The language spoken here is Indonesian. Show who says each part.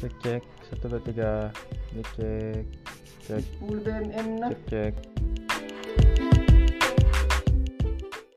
Speaker 1: cek cek satu dua tiga ini cek cek
Speaker 2: Full BMN nah.
Speaker 1: cek cek